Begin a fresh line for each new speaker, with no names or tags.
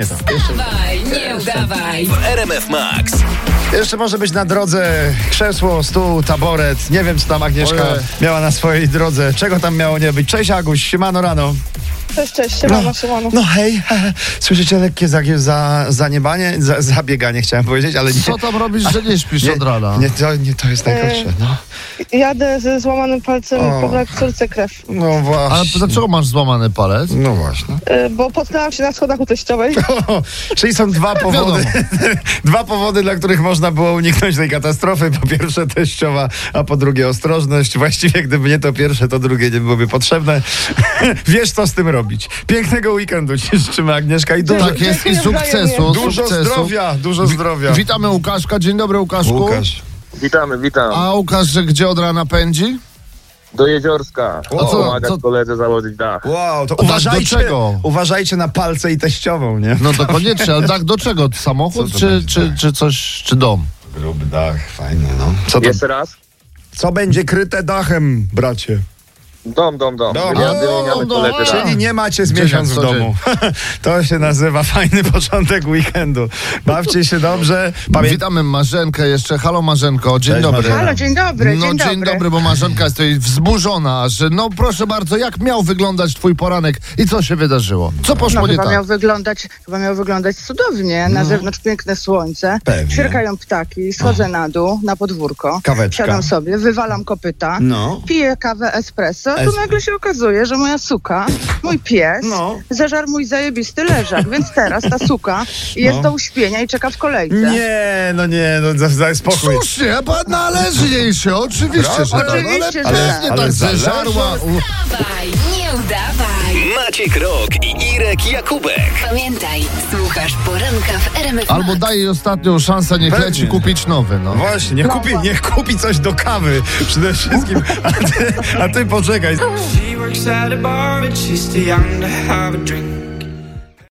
Właśnie tak.
Dawaj, nie udawaj.
w RMF Max.
Jeszcze może być na drodze krzesło, stół, taboret. Nie wiem, co tam Agnieszka
Ojej.
miała na swojej drodze. Czego tam miało nie być. Cześć Aguś, siemano rano.
Cześć, cześć, siemano, siemano.
No hej, słyszycie lekkie zagie- za, zaniebanie, za, zabieganie chciałem powiedzieć, ale nie.
Co tam robisz, że nie śpisz od rana?
nie, nie, to, nie to jest najgorsze. No,
Jadę ze złamanym palcem
O.
po córce krew,
no właśnie.
Ale dlaczego masz złamany palec?
No właśnie.
y, bo potknęłam się na schodach u teściowej.
Czyli są
No
dwa powody. dwa powody, dla których można było uniknąć tej katastrofy. Po pierwsze teściowa, a po drugie ostrożność. Właściwie gdyby nie to pierwsze, to drugie nie byłoby potrzebne. Wiesz, co z tym robić. Pięknego weekendu ci życzymy, Agnieszka. I dużo,
Tak jest i
Dziękuję
sukcesu.
wzajemnie.
dużo
sukcesu.
zdrowia, dużo zdrowia.
Witamy Łukaszka. Dzień dobry Łukaszku.
Łukasz.
Witamy, witam.
A Łukasz, że gdzie od rana pędzi?
Do Jeziorska.
co-
Pomagać
co-
koledze założyć dach.
Wow, to
tak do
uważajcie,
czego?
uważajcie na palce i teściową, nie?
No to koniecznie, ale tak do czego? Samochód
Co to
czy,
będzie,
czy, czy coś, czy dom?
Grub dach, fajny, no. Co, to,
Jeszcze raz?
co będzie kryte dachem, bracie?
Dom, dom, dom.
Dom,
Wywiady
dom,
wymieniamy
dom.
koledze dach.
Czyli nie macie z
Dziesiąt
miesiąc w
co dzień.
domu. To się nazywa fajny początek weekendu. Bawcie się dobrze. Pamię...
Witamy Marzenkę jeszcze. Halo Marzenko, dzień
Cześć,
dobry.
Marzena.
Halo, dzień dobry,
no
dzień, dobry.
bo Marzenka jest tutaj wzburzona, że no proszę bardzo, jak miał wyglądać twój poranek i co się wydarzyło? Co poszło
No
nie
chyba
tak?
miał, wyglądać, chyba miał wyglądać cudownie. Na zewnątrz piękne słońce,
No. Pewnie.
ćwierkają ptaki, schodzę na dół, na podwórko,
Kaweczka.
siadam sobie, wywalam kopyta,
No.
piję kawę espresso,
Es-
tu nagle się okazuje, że moja suka, mój pies,
No.
zażarł mój zajebisty leżak, więc teraz ta suka jest
No.
do uśpienia i czeka w kolejce.
Nie, no nie, no za, za spokój.
Słusznie, bo należy jej się, oczywiście, że tak.
Oczywiście,
ale pewnie
że
tak.
tak
Ale zależy.
zeżarła. u-
Dawaj, nie udawaj.
Maciek Rok i Irek Jakubek.
Pamiętaj, słuchasz poranka w RMF
Albo
Max.
daje jej ostatnią szansę, niech
Pewnie.
leci kupić nowy, no.
Właśnie, niech kupi, niech kupi coś do kawy przede wszystkim. A ty, a ty poczekaj.
She works at a bar, but she's too young to have a drink.